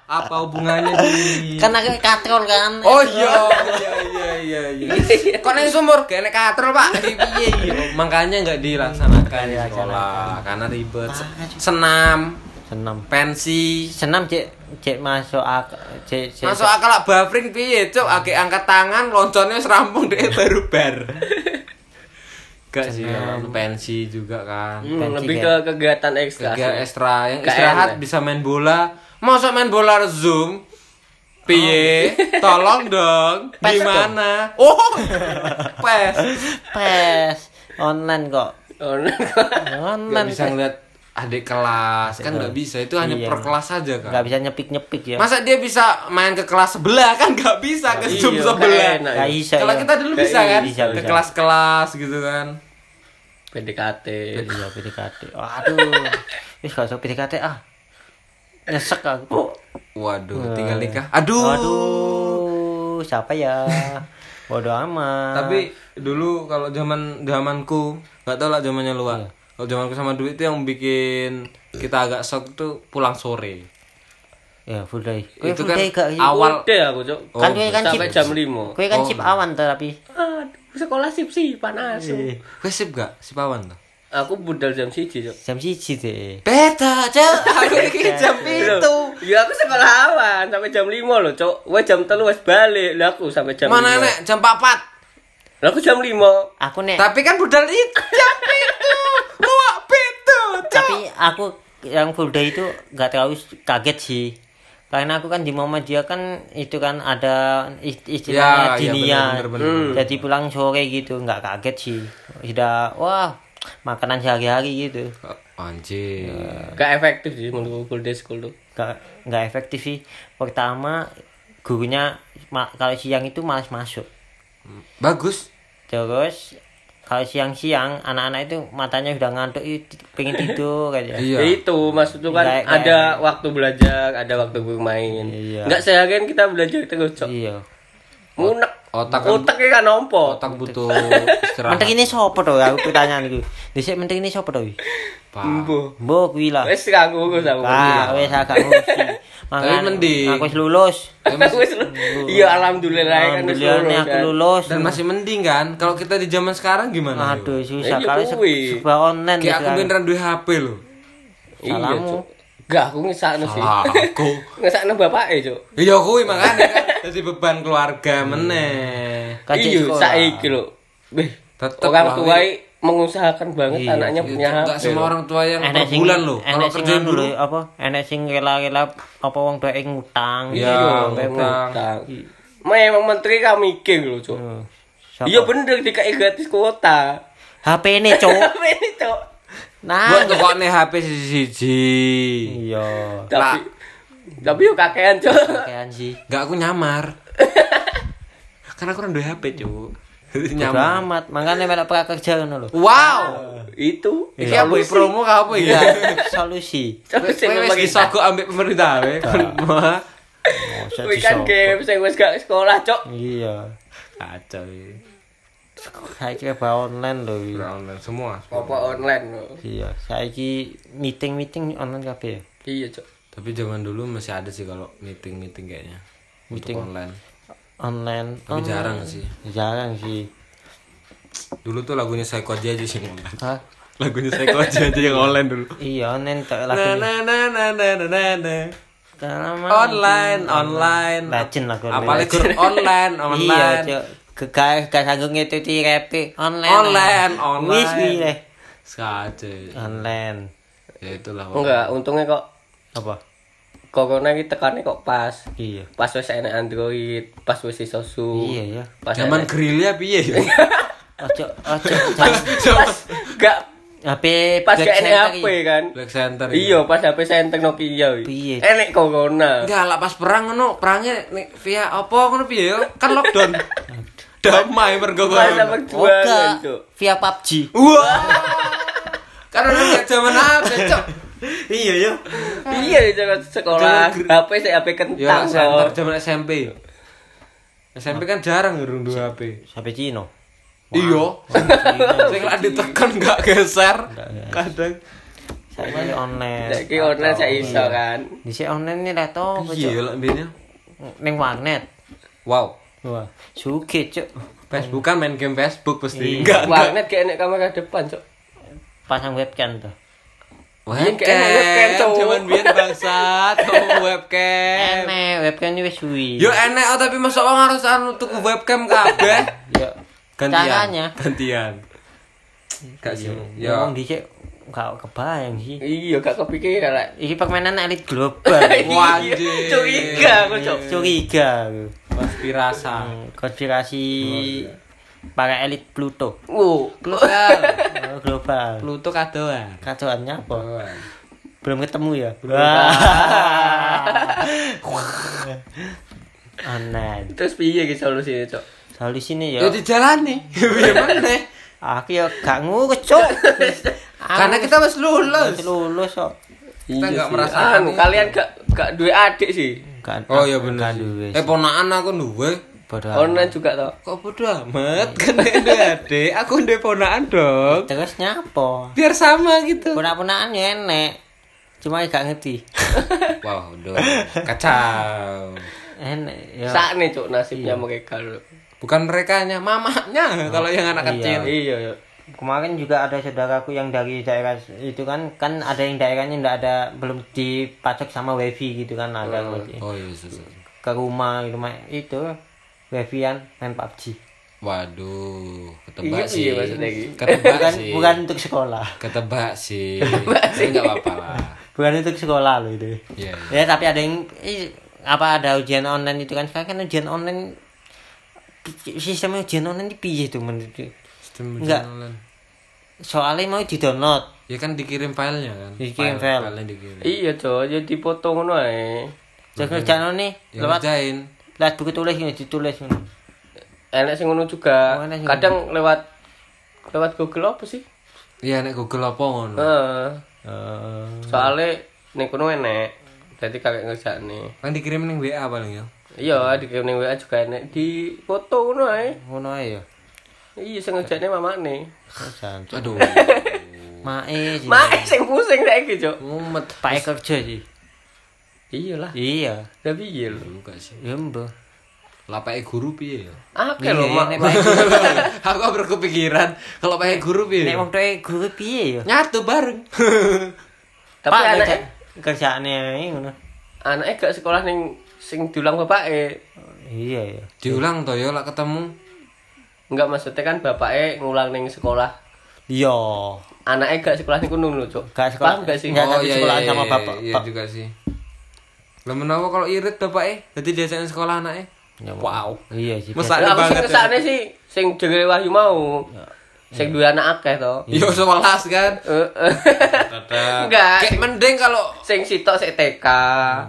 S1: Apa hubungannya di?
S2: Kan aku katrol kan.
S1: Oh iya, iya iya iya iya. Kok nang sumur gak enek katrol, Pak. Piye iya. Makanya enggak dilaksanakan
S2: Iya,
S1: di sekolah karena ribet. Senam,
S2: senam.
S1: pensi.
S2: Senam cek cek masuk ak cek cek.
S1: Masuk akal lah buffering piye, Cuk? Ake angkat tangan, lonconnya wis rampung deh baru
S2: *laughs*
S1: bar. Gak sih,
S2: Iya.
S1: orang pensi juga kan.
S3: Hmm,
S2: Pensi
S3: lebih ke
S2: kayak-
S3: kegiatan ekstra.
S1: Tiga ekstra yang
S3: Gak
S1: istirahat
S3: enak.
S1: bisa main bola. Masa main bola Zoom? Piye? Tolong dong.
S2: Pes
S1: Gimana? *laughs* Oh. Pes.
S2: pes online kok.
S3: Oh, *laughs*
S1: Gak
S2: Online.
S1: bisa ngeliat adik kelas kan nggak bisa itu hanya
S2: Iya.
S1: per kelas aja kan
S2: Enggak bisa nyepik-nyepik ya.
S1: masa dia bisa main ke kelas sebelah kan nggak bisa ke zoom
S3: iya,
S1: sebelah
S3: gak enak.
S2: Enggak bisa.
S1: kalau
S2: ya.
S1: kita dulu
S3: Gak
S1: bisa
S3: iya,
S1: kan
S2: bisa,
S1: ke
S2: bisa.
S1: kelas-kelas gitu kan
S3: PDKT.
S2: Iya PDKT. Waduh. Wis gak usah PDKT ah. Nyesek aku.
S1: waduh tinggal nikah aduh,
S2: Waduh, siapa ya? Waduh amat.
S1: tapi dulu kalau zaman zamanku nggak tau lah zamannya luar kalau zamanku sama duit itu yang bikin kita agak shock tuh pulang sore
S2: ya full day
S1: itu kan
S2: gak sih?
S1: awal
S3: Udah aku cok.
S2: kan kue kan
S3: Sampai
S2: sip
S3: jam 5.
S2: kue kan sip awan tuh tapi
S3: Aduh, sekolah sip sih panas.
S1: gue sip gak sip awan tuh
S3: Aku budal jam 1 cok.
S2: jam siji deh
S1: beda cel aku ini jam itu
S3: Loh, Ya aku sekolah awan sampai jam 5 loh, Cok. Wes jam 3 wes balik. Lah aku sampai jam
S1: mana
S3: 5.
S1: enak jam 4
S3: Lah aku jam 5.
S2: aku nek
S1: tapi kan budal itu jam itu luak itu cel
S2: tapi aku yang full day itu nggak terlalu kaget sih karena aku kan di Muhammadiyah kan itu kan ada
S1: Ya,
S2: ist-
S1: ya,
S2: istilahnya diniyah.
S1: bener, bener, bener,
S2: jadi pulang sore gitu nggak kaget sih sudah wah makanan sehari-hari gitu
S1: anjir
S3: Gak efektif sih menurut full day school tuh.
S2: nggak nggak efektif sih pertama gurunya ma- kalau siang itu malas masuk
S1: bagus
S2: terus kalau siang-siang anak-anak itu matanya sudah ngantuk ih, pengen tidur aja
S1: Iya.
S3: Ya itu maksud tuh kan
S2: Nggak- nggak
S3: ada waktu belajar, ada waktu bermain.
S2: Iya.
S3: Enggak seharian kita belajar terus, Cok.
S2: iya
S3: Munek.
S1: Otak kan-
S3: Otaknya kan nompo.
S1: otak butuh
S2: Menteri
S1: istirahat
S2: ini sopo tuh aku pertanyaan itu. Dhisik menteri ini sopo tuh?
S1: Pak.
S3: Embo.
S2: Mbok kuwi lah.
S3: Wes kagak urus aku. *laughs*
S2: Wah, wis agak ngurusi. Mangan.
S1: mending.
S2: Aku wis lulus.
S3: Aku wis lu- Iya alhamdulillah ya kan wis
S2: Alhamdulillah nih aku
S3: lulus.
S2: lulus.
S1: dan masih mending kan kalau kita di zaman sekarang gimana
S2: Aduh, susah
S3: Iya,
S2: kali
S3: kuwi.
S2: sebuah online
S1: kayak aku
S2: kan.
S1: beneran duwe HP loh
S3: Iya,
S2: Salahmu.
S3: Cuk. Enggak aku ngesakno sih.
S1: Salah aku.
S3: *laughs* Ngesakno bapake, Cuk.
S1: *laughs* iya kuwi makanya kan jadi beban keluarga
S2: Hmm.
S1: meneh
S2: Kajik
S3: Iya,
S2: sekolah.
S3: saiki lho. Wih,
S1: Tetep lah,
S3: orang tua mengusahakan banget anaknya punya
S1: Enggak
S3: HP
S1: Iya, semua
S3: lho.
S1: orang tua yang
S2: Enek
S1: per
S2: sing
S1: bulan loh kalau
S2: enek sing
S1: kerja
S2: anu
S1: dulu
S2: lho, apa? Enek sing rela-rela apa wong tuwek ngutang.
S1: ya
S3: Iya,
S2: Sampai
S1: utang
S3: Utang. Memang menteri kami mikir lho, Cuk.
S2: Siapa?
S3: Iya bener dikai gratis
S1: *laughs*
S3: kuota.
S2: HP ini,
S3: *laughs*
S2: Cuk.
S3: Tapi ini cok.
S1: Ah. buat
S2: Nah.
S1: kok nih HP siji
S2: Iya.
S3: Tapi tapi yuk kakean cok.
S2: Kakean sih.
S1: Enggak aku
S3: *laughs*
S1: nyamar karena aku orang duwe HP cuy
S2: Bodo
S1: nyamar
S2: amat, makanya melak prakerja ngono lho.
S3: Ah.
S1: wow
S3: Itu.
S1: ini apa ya, promo kah apa ya
S2: Solusi.
S3: Cok Iya. sing
S1: Kowe wis
S3: pemerintah.
S1: disogok ambek pemerintah
S3: Ah.
S1: we kon
S2: Masa
S3: Kowe kan
S2: disogok.
S3: game sing wis gak sekolah cok.
S2: Iya.
S1: kacau ini
S2: Saiki ba online lho. iki.
S1: online semua
S3: Apa online lho.
S2: Iya, saiki meeting-meeting online kabeh ya.
S3: Iya cok.
S1: tapi zaman dulu masih ada sih kalau meeting meeting kayaknya meeting Oh. online
S2: Online.
S1: tapi
S2: online.
S1: jarang sih
S2: Jarang sih.
S1: dulu tuh lagunya Psycho J aja sih yang online
S2: Hah?
S1: *laughs* lagunya Psycho J aja yang online dulu
S2: Iya, online tak
S1: na
S2: lagu.
S1: na na na na na na online online
S2: Rajin lagu.
S1: apalagi kur *laughs* online
S2: Iya,
S1: online
S2: Cuk. Gegah gak sanggup itu di rap online.
S1: Online, online.
S2: Wis milih.
S1: Saja
S2: Online.
S1: ya itulah
S3: Enggak, untungnya kok
S2: Apa?
S3: corona iki tekannya kok pas.
S2: Iya.
S3: Pas wis enak Android, pas wis iso su.
S2: Iya, ya.
S3: Pas
S1: zaman
S3: enak-
S1: gerilya
S3: *laughs*
S1: piye ya
S2: Ojo, ojo. jangan.
S3: pas *laughs* gak
S2: HP
S3: pas
S2: Black
S3: gak enak
S2: Center
S3: HP
S2: iki.
S3: kan.
S1: Black Center ya.
S3: Iya, pas HP senteng Nokia.
S2: Piye?
S3: iki. iya, Enek corona.
S1: enggak lah pas perang ngono perangnya nih via apa ngono piye yo kan lockdown *laughs* damai mergo
S3: Pas kan,
S1: corona.
S3: perjuangan
S2: Oga,
S3: cok.
S2: via PUBG.
S1: *laughs* Wah. Karena lu nggak zaman apa, Cok? *laughs* Iya, yo.
S3: Iya, jangan sekolah.
S1: Jangan ger- Ya,
S3: HP saya HP
S1: Yo nak
S3: kentang. kok.
S1: center zaman SMP. SMP kan jarang ngurung dua HP.
S2: Sampai Cino.
S1: Iya. Sing lak ditekan nggak geser. Kadang
S2: Saiki online.
S3: Saiki online saya iso kan.
S2: Dhisik online ini leto
S1: iya lah mbene.
S2: ning warnet.
S1: Wow.
S2: Wah, sugih cuk.
S1: Facebook kan main game Facebook pasti.
S2: Iya.
S1: Enggak.
S3: Warnet kayak nek kamera depan, Cok.
S2: Pasang webcam tuh.
S1: Webcam,
S3: Iya, kayak emang webcam, Cok.
S1: zaman biyen
S3: *laughs*
S1: bangsat, ngomong webcam.
S2: Enek, webcam ini wis suwi.
S1: Yo enek oh, tapi masa orang harus anu tuku webcam *laughs* kabeh.
S2: Yo.
S1: gantian
S2: Caranya.
S1: gantian gak sih ya
S2: Ngomong
S1: *laughs*
S2: dhisik gak kebayang sih.
S3: Iya, gak kepikiran lah.
S2: Iki permainan elit global.
S1: Wah,
S3: Iya,
S1: anjing.
S3: Curiga aku, Cok.
S2: Curiga. aku.
S1: pasti rasa
S2: Konspirasi para elit Pluto. Oh,
S3: Wow.
S2: global.
S1: Pluto kadoan
S2: Kacauannya apa?
S1: Kadoan.
S2: belum ketemu ya Wah. online
S3: Terus piye ki solusinya, Cok?
S2: selalu sini ya
S1: ya dijalani *laughs* ya mana
S2: aku ya gak ngurus cok
S1: *laughs* karena kita harus lulus
S2: Masih lulus kok
S1: Kita
S3: Iya
S1: gak
S3: sih.
S1: merasakan
S3: Anu,
S1: itu.
S3: kalian gak gak duwe adik sih.
S2: Gak-
S1: oh ya
S2: gak
S1: benar
S2: duwe
S1: eh
S2: sih.
S1: ponaan aku duwe
S2: Bodoh.
S3: Online juga toh.
S1: Kok bodo amat kan ndek adik, aku ndek ponakan dong.
S2: Terus nyapa?
S1: Biar sama gitu.
S2: Punak-punakan ya enek. Cuma gak ngerti.
S1: *laughs* Wah, udah kacau.
S2: enek ya.
S3: Sak nih cuk nasibnya mereka lho.
S1: Bukan merekanya, mamanya kalau yang anak kecil.
S3: Iya ya.
S2: Kemarin juga ada saudaraku yang dari daerah itu kan kan ada yang daerahnya ndak ada belum dipacok sama wifi gitu kan ada lagi.
S1: Oh, iya, sus.
S2: ke rumah gitu rumah itu wifi-an main PUBG.
S1: Waduh,
S3: Iya,
S1: ketebak
S3: iya,
S1: sih.
S3: maksudnya gitu.
S1: Ketebak
S2: Bukan
S1: sih.
S2: bukan untuk sekolah. *laughs*
S1: Ketebak sih. Tapi enggak apa-apa lah.
S2: Bukan untuk sekolah loh itu.
S1: Iya.
S2: Ya tapi ada yang eh, apa ada ujian online itu kan sekarang kan ujian online sistem ujian online di piye tuh menurutku.
S1: Sistem
S2: Enggak.
S1: ujian online.
S2: Soalnya mau di download.
S1: Ya kan dikirim filenya kan.
S2: Dikirim file.
S1: Filenya dikirim.
S3: Iya cuk, jadi foto ngono ae.
S2: Terus kerjaan nih
S1: Ya
S2: lewat
S1: ngerjain.
S2: lewat buku tulis ini ditulis ini.
S3: Enak sing ngono juga.
S2: Oh, enak sing
S3: Kadang lewat lewat Google apa sih?
S1: Iya nek Google apa ngono.
S3: Heeh.
S2: Eh.
S3: Soalnya ning kono enak. Jadi kakek ngerjakne.
S1: Kan dikirim ning WA paling ya.
S2: Hmm.
S3: Iya, di ning WA juga enak di foto ngono ae.
S2: Ngono ae ya.
S3: Iya, sing ngerjakne mamane.
S1: Oh,
S2: Kerjaan.
S1: Aduh.
S2: Mae sih.
S3: Mak sing pusing saiki cuk.
S1: Mumet
S2: Pakai kerja sih.
S3: Iyalah.
S2: Iya.
S3: Tapi iya lho.
S1: juga sih.
S2: Ya mbah.
S1: Lapake guru piye ya?
S3: Akeh lho,
S2: Iya,
S3: Mak.
S2: nek pakai kerja.
S1: *laughs* Aku baru kepikiran kalau pakai guru piye.
S2: Nek wong tuwe guru piye ya?
S1: Nyatu bareng. *laughs*
S3: Tapi
S2: Pak,
S3: anaknya
S2: kerja- kerjaane ae ngono.
S3: anaknya gak sekolah ning sing e. diulang bapake.
S2: Iya ya.
S1: Diulang toh ya lak ketemu.
S3: Enggak maksudnya kan bapake ngulang ning sekolah.
S2: Iya.
S3: Anaknya gak sekolah ning kono lho, Cuk.
S2: Gak sekolah.
S3: Paham gak sih?
S2: Nggak. satu sekolahan sama bapak-
S1: Oh, Iya
S2: Pak.
S1: juga sih. Lah menawa kalau irit bapake dadi diajakin sekolah anake. Wow.
S2: Iya sih.
S1: Masa-
S3: Lah aku sing
S1: banget,
S3: kesane sih sing jenenge Wahyu mau. Sing duwe anak akeh to.
S2: Iya.
S1: Yo sekolah kan.
S3: Enggak.
S1: Kayak mending kalau
S3: Sing sitok sik TK.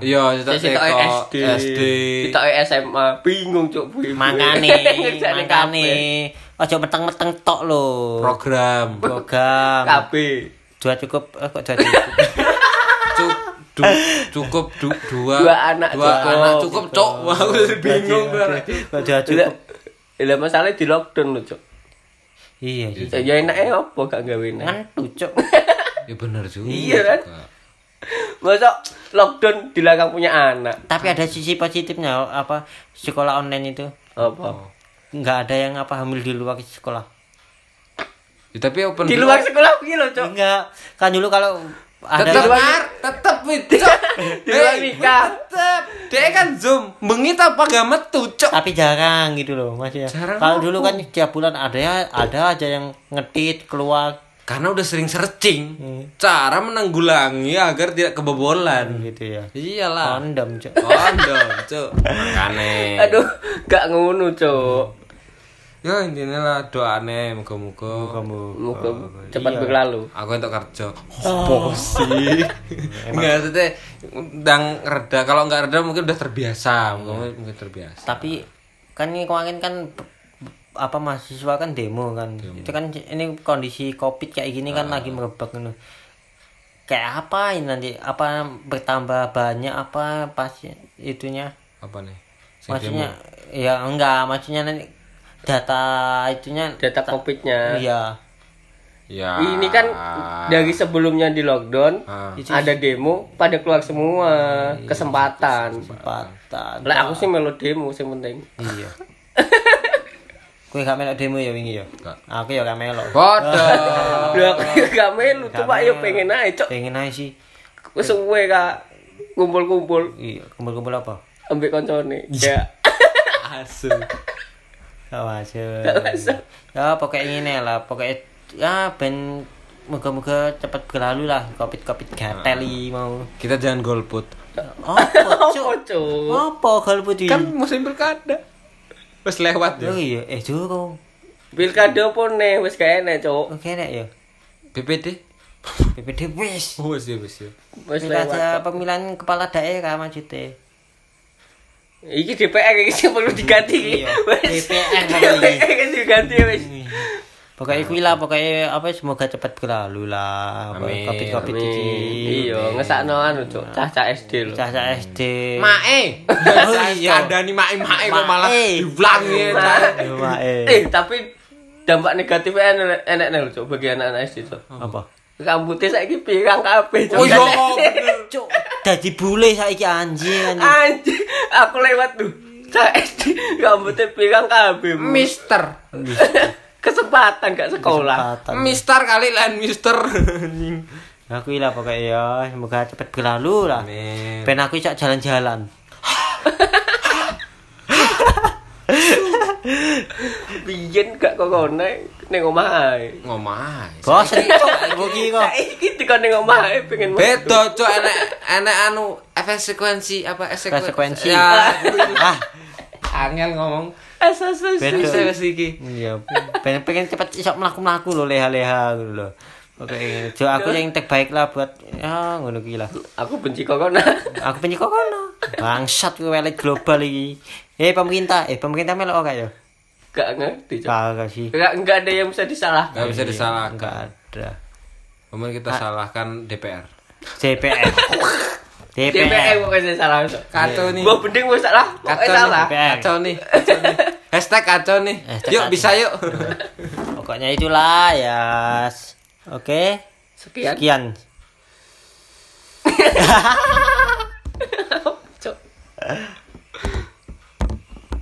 S1: Iya,
S3: Sing
S1: cetak
S3: sitok SD.
S1: SD. SD.
S3: Sitok SMA. Bingung, Cuk. Bu-ibu. *laughs*
S2: Makane,
S3: Ngerjakne
S2: makane. Ojo meteng-meteng tok lho.
S1: Program.
S2: Program.
S3: kabeh.
S2: Dua cukup, eh, kok dua cukup.
S1: Cuk- du- cukup du- dua
S3: Dua anak
S1: dua
S3: cukup.
S1: anak cukup cok Wah, aku jadi bingung kan
S2: Kok dua
S3: Lah
S2: cukup.
S3: lah masalahnya di lockdown lho, Cuk.
S2: Iya Nah, sih.
S3: Ya, Ya enake apa gak gawe enak.
S2: Ngentu cuk.
S1: ya bener juga
S3: Iya, kan? Masa lockdown dilarang punya anak?
S2: Tapi ada sisi positifnya oh, apa sekolah online itu. Oh.
S3: Apa?
S2: Enggak ada yang apa hamil di luar sekolah.
S1: Ya, tapi open
S3: Di luar sekolah piye lho, Cuk?
S2: Enggak. Kan dulu kalau ada
S1: tetep Mar, tetep wih, cok
S3: *laughs* Di luar
S1: Hei,
S3: nikah.
S1: tetep dia kan zoom bengit apa gak metu cok
S2: tapi jarang gitu loh maksudnya.
S1: Jarang
S2: Kalau dulu kan tiap bulan ada ya ada aja yang ngetit keluar
S1: karena udah sering searching cara menanggulangi agar tidak kebobolan
S2: gitu ya.
S1: iyalah
S2: Kondom cuk.
S1: kondom cok makane
S3: Aduh, gak ngono, Cuk.
S1: ya intinya lah doane muka-muka
S2: Kamu
S3: Moga cepat
S2: iya.
S3: berlalu.
S1: aku untuk kerja oh, *laughs* sih nggak maksudnya ndang reda kalau nggak reda mungkin udah terbiasa mungkin, mungkin terbiasa
S2: tapi kan ini kemarin kan p- apa mahasiswa kan demo kan itu kan ini kondisi covid kayak gini kan lagi merebak gitu kayak apa ini nanti apa bertambah banyak apa pasti itunya
S1: apa nih Sing
S2: maksudnya ya enggak maksudnya nanti data itunya
S3: Data Covid-nya.
S2: iya
S1: demo? ya
S3: Ini kan dari sebelumnya di lockdown
S1: Ah.
S3: ada demo pada keluar semua
S2: Iya,
S3: kesempatan.
S2: kesempatan
S3: Lah aku sih melu demo sing penting.
S2: iya kue gak melok demo ya wingi ya
S1: Enggak.
S2: aku ya gak melok
S1: *laughs* bodoh
S3: Lah aku *laughs* gak melu
S2: Ah. Gak
S3: cuma yo
S2: melu.
S3: pengen ae cok.
S2: pengen aja sih
S3: Wis suwe kak kumpul-kumpul
S2: iya kumpul-kumpul apa
S3: ambek koncone.
S2: *laughs*
S3: Ya.
S1: asu
S2: Gak masuk. Ya pokoknya ini lah, pokoknya ya ben moga-moga cepet berlalu lah covid-covid gateli mau.
S1: kita jangan golput
S2: Apa
S3: Opo
S2: cuk?
S3: cuk?
S2: Apa kalau putih?
S1: kan musim pilkada terus lewat ya
S2: Oh iya, eh durung.
S3: Pilkada opo ne wis gak enak cok.
S2: Oke nek ya.
S1: BPD
S2: BPD wis.
S1: oh sih wis ya
S3: Wis
S2: Pilkada
S3: lewat. cok.
S2: pemilihan kepala daerah maksudnya.
S3: Iki DPR iki sing perlu diganti.
S2: Iya,
S3: Wis. *laughs*
S2: DPR
S3: DPR
S2: pokoknya.
S3: iki diganti wis.
S2: Pokoknya kuwi lah, pokoknya apa semoga cepat berlalu lah.
S1: Amin,
S2: Covid-covid iki.
S3: Iya, ngesakno anu cuk, cah-cah SD lho.
S2: Caca SD.
S1: Mae.
S2: Oh, iya.
S1: Kadani mae mae kok Eh, malah
S2: Mae.
S1: diulangi.
S2: Iya, Mak, eh.
S3: Eh, tapi dampak e negatifnya enak enak nih cuk bagi anak-anak SD cuk.
S2: Apa?
S3: Rambutnya saiki pirang kabeh cuk.
S1: Oh iya,
S3: *laughs*
S1: bener.
S2: Cuk, dadi bule saiki anjing. anjing.
S3: Anjir, aku lewat tuh. Cah SD rambutnya pirang kabeh. Bu.
S1: Mister.
S3: *laughs* Kesempatan gak sekolah.
S2: Kesempatan.
S1: Mister kali lain mister. Anjing.
S2: Ya kuwi lah pokoknya ya, semoga cepat berlalu lah.
S1: Amin.
S2: Ben aku cak jalan-jalan.
S3: Biyen gak corona ning omah ae.
S1: Ngomah.
S2: Bosen cuk, iki kok.
S3: Saiki dikon ning omah ae pengen metu.
S1: Beda cok enek enek anu efek sekuensi apa efek sekuen-
S2: Konsekuensi.
S1: Ya,
S2: Ah,
S1: angel ngomong.
S3: Asas
S2: Beda.
S1: Bisa wes iki.
S2: Iya, pengen pengen cepet iso mlaku-mlaku lho leha-leha gitu lho. Oke, jo aku yang terbaik lah buat ya ngono kuwi lah.
S3: Aku benci corona.
S2: Aku penyi kok kono. Bangsat kuwi elek global iki. Eh pemerintah, eh pemerintah melok gak ya?
S3: Gak ngerti cuk.
S2: Kagak sih.
S3: Gak enggak ada yang bisa disalahkan.
S1: Gak bisa
S2: iya.
S1: disalahkan.
S2: Enggak ada.
S1: Pemen kita
S2: Ah.
S1: salahkan DPR.
S2: DPR. DPR.
S3: DPR pokoknya salah cuk.
S1: Kacau nih.
S3: Mbok bending wis salah,
S2: Oh, eh,
S3: pokoknya
S1: Kacau
S3: salah.
S1: nih. Kacau
S2: *laughs*
S1: nih. Kacau nih. Hashtag kacau nih.
S2: Hashtag
S1: Yuk
S2: kacau.
S1: bisa yuk.
S2: *laughs* Pokoknya itulah ya. Oke.
S3: Sekian.
S2: Sekian.
S3: Cuk.